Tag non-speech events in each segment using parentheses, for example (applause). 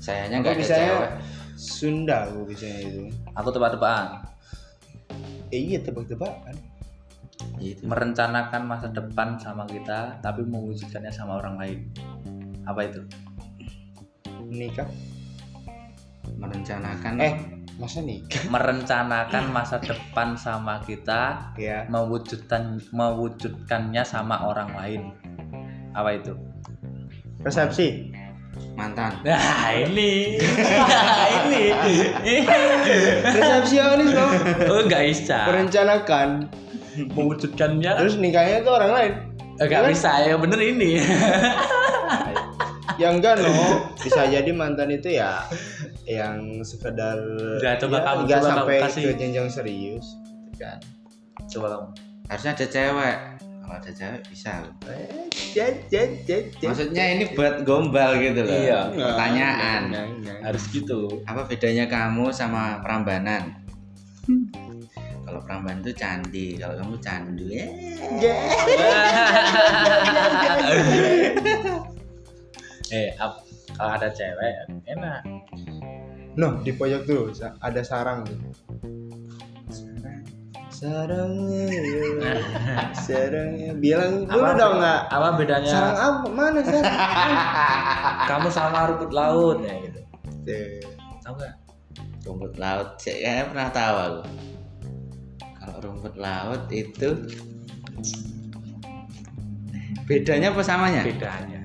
sayangnya Aku nggak ada bisanya cewek Sunda aku bisanya itu. aku tebak-tebakan Eh, iya tebak-tebakan. Gitu. merencanakan masa depan sama kita tapi mewujudkannya sama orang lain apa (laughs) itu Nikah. merencanakan Eh, masa nikah? merencanakan masa depan sama kita Ya, mewujudkan mewujudkannya sama orang lain apa itu resepsi. mantan nah ini nah (laughs) ini (laughs) Resepsionis dong. oh nggak bisa Merencanakan mewujudkannya terus nikahnya ke orang lain. nggak Kan? bisa ya bener ini Yang Ya enggak no, bisa jadi mantan itu ya yang sekedar Ya, coba kamu, nggak coba kamu sampai kasih. ke jenjang serius. Kan? coba kamu harusnya ada cewek kalau ada cewek bisa loh. Eh, jat, jat, jat, jat. maksudnya ini buat gombal gitu loh Iya. pertanyaan Nah, nah, nah. harus gitu apa bedanya kamu sama Prambanan Hmm. kalau Prambanan tuh candi kalau kamu candu ya (laughs) eh ap- kalau ada cewek enak No, di pojok tuh sa- ada sarang tuh. Sarang, sarangnya, sarangnya. Bilang dulu Apa- dong nggak. Ya. apa bedanya Sarang apa? Mana sih? kamu sama rumput laut ya gitu (laughs) tahu nggak rumput laut cek kayaknya pernah tahu aku kalau rumput laut itu bedanya apa samanya bedanya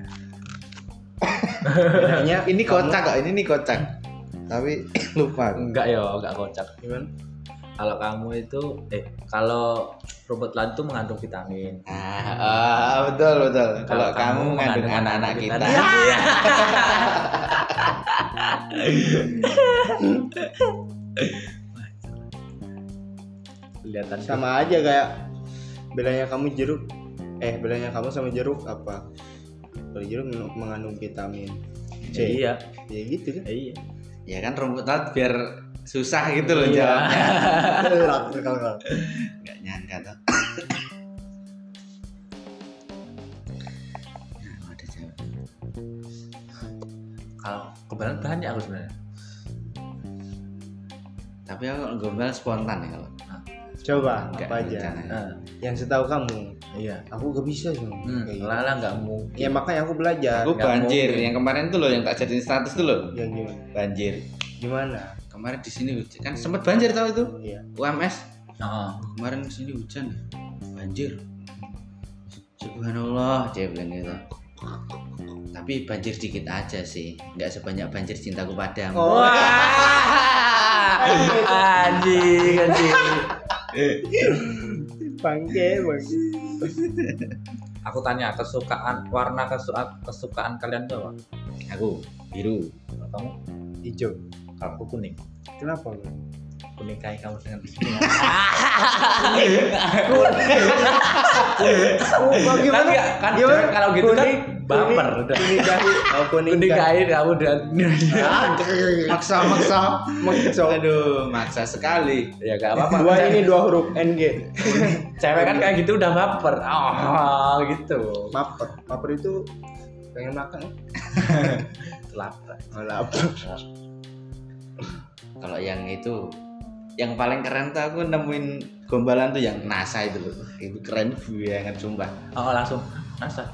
Bedanya ini kocak kok ini nih kocak tapi lupa aku. enggak ya enggak kocak Gimana? kalau kamu itu eh kalau rumput laut itu mengandung vitamin ah, ah, betul betul kalau kamu mengandung anak-anak kita iya. kelihatan Sama aja kayak bedanya kamu jeruk. Eh, bedanya kamu sama jeruk apa? Kalau jeruk men- mengandung vitamin C. iya Ya gitu (laughs) kan. iya ya kan rumput laut biar susah gitu loh Iya. jawabnya Berat, kalau- kalau. nggak nyangka tuh Nah, ada cewek. kalau kebetulan banyak aku sebenarnya tapi aku kalau gombal spontan ya kalau Coba nggak apa aja. rencananya. Nah, Yang setahu kamu, iya aku gak bisa sih. hmm, kayak gitu. lala nggak mungkin Ya makanya aku belajar. aku nggak banjir mungkin. yang kemarin tuh loh yang tak jadiin status tuh loh Yang gimana? banjir Iya, Gimana? kemarin di sini hujan kan sempat banjir tau itu Iya. UMS Heeh. kemarin di sini hujan ya banjir subhanallah dia bilang gitu tapi banjir dikit aja sih nggak sebanyak banjir cintaku padamu Oh. anjing anjing Bangke, bangke. aku tanya kesukaan warna kesukaan kesukaan kalian tuh apa aku biru Kalau kamu Hijau. kalau aku kuning Kenapa lu? kuning kain kamu dengan Oh, kan bagaimana? nggak- kan jangan kalau gitu kan baper udah Kuning dahi. Oh, kuning kuning dahi. kain kamu dengan maksa (laughs) maksa Makso. aduh maksa sekali ya gak apa-apa Dua Cewek- ini dua huruf NG. cewek kan kayak gitu udah baper oh gitu Maper. Maper itu pengen makan. eh? lapar Oh, lapar. kalau yang itu yang paling keren tuh aku nemuin gombalan tuh yang NASA itu loh itu keren banget sumpah oh langsung NASA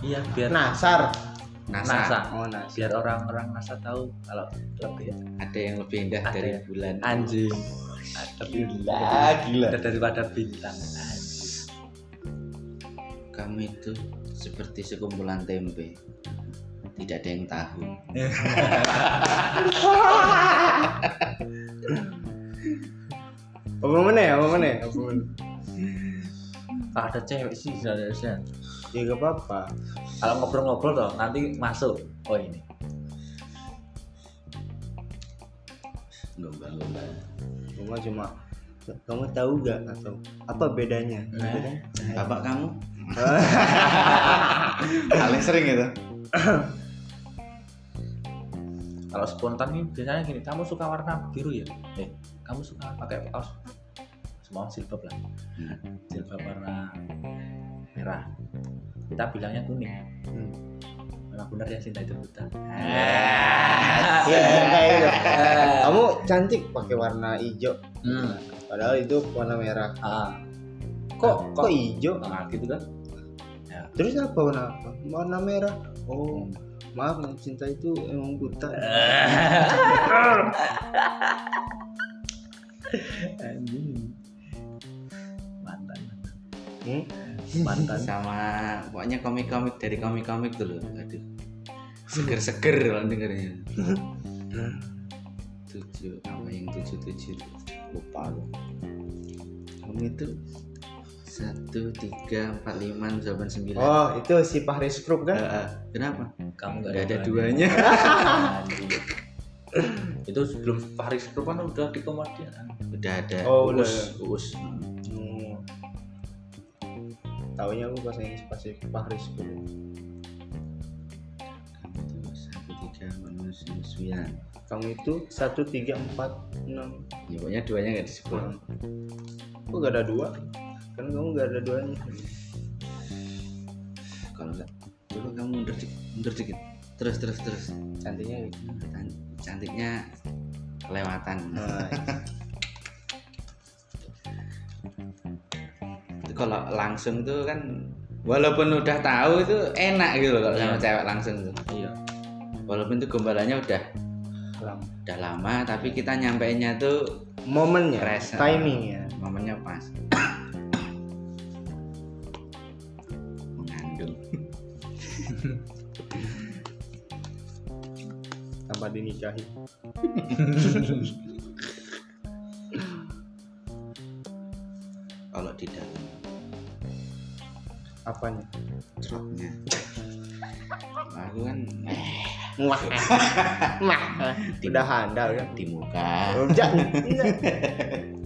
iya biar Nasar. NASA, NASA Oh, nasar. biar orang-orang NASA tahu kalau lebih ada yang lebih indah Ada dari yang- bulan anjing lebih ah gila Ada daripada bintang kamu itu seperti sekumpulan tempe tidak ada yang tahu Apa mana ya? Apa mana ya? Apa mana? kalau ada cewek sih seharusnya Ya gak apa-apa. kalau ngobrol-ngobrol toh nanti masuk oh ini gombal gombal Cuma cuma kamu tahu gak atau apa bedanya? Nah. Bedanya? bapak (laughs) kamu paling sering itu kalau spontan nih biasanya gini kamu suka warna biru ya eh kamu suka pakai kaos semua orang silbab lah Hmm. silbab warna merah kita bilangnya kuning Hmm. Eh, memang benar ya cinta itu buta (laughs) Iya, kayak gitu. Eh, Kamu cantik pakai warna hijau, hmm, padahal itu warna merah. ah, Kok Nah, kok hijau? ah, gitu kan Terus apa warna apa? Warna merah. Oh, maaf, yang cinta itu emang buta. Anjing. mantan Hmm? mantan sama pokoknya komik-komik dari komik-komik dulu aduh seger-seger lah dengernya tujuh apa yang tujuh tujuh lupa aku kamu itu satu tiga empat lima enam, delapan sembilan Oh, itu si Pahris Kruk kan? Eh, eh, kenapa kamu nggak nggak ada berani. duanya (laughs) Anjing. itu sebelum Paris itu kan udah di kemudian udah ada Oh, udah. us Hmm. Taunya aku pas yang pas si Pahris Kruk. kamu itu satu tiga empat lima, Kamu itu satu tiga empat enam, sembilan enam. ya pokoknya duanya nggak disebut Kok gak ada dua? Kan kamu gak ada duanya. kalau nggak coba kamu mundur dik- mundur dikit terus terus terus Cantiknya. gitu. Tan- cantiknya Oh, kelewatan Nah, iya. (laughs) Itu kalau langsung tuh kan walaupun udah tahu itu enak gitu loh kalau sama Iya. cewek langsung tuh iya walaupun tuh gombalannya udah kelam. udah lama tapi kita nyampeinnya tuh Momennya, Kerasa. timingnya. momennya pas (coughs) mengandung tanpa dinikahi. kalau di dalam Apanya? truknya aku kan (laughs) Wah. Wah. Udah handal kan? di muka Rujak. Iya.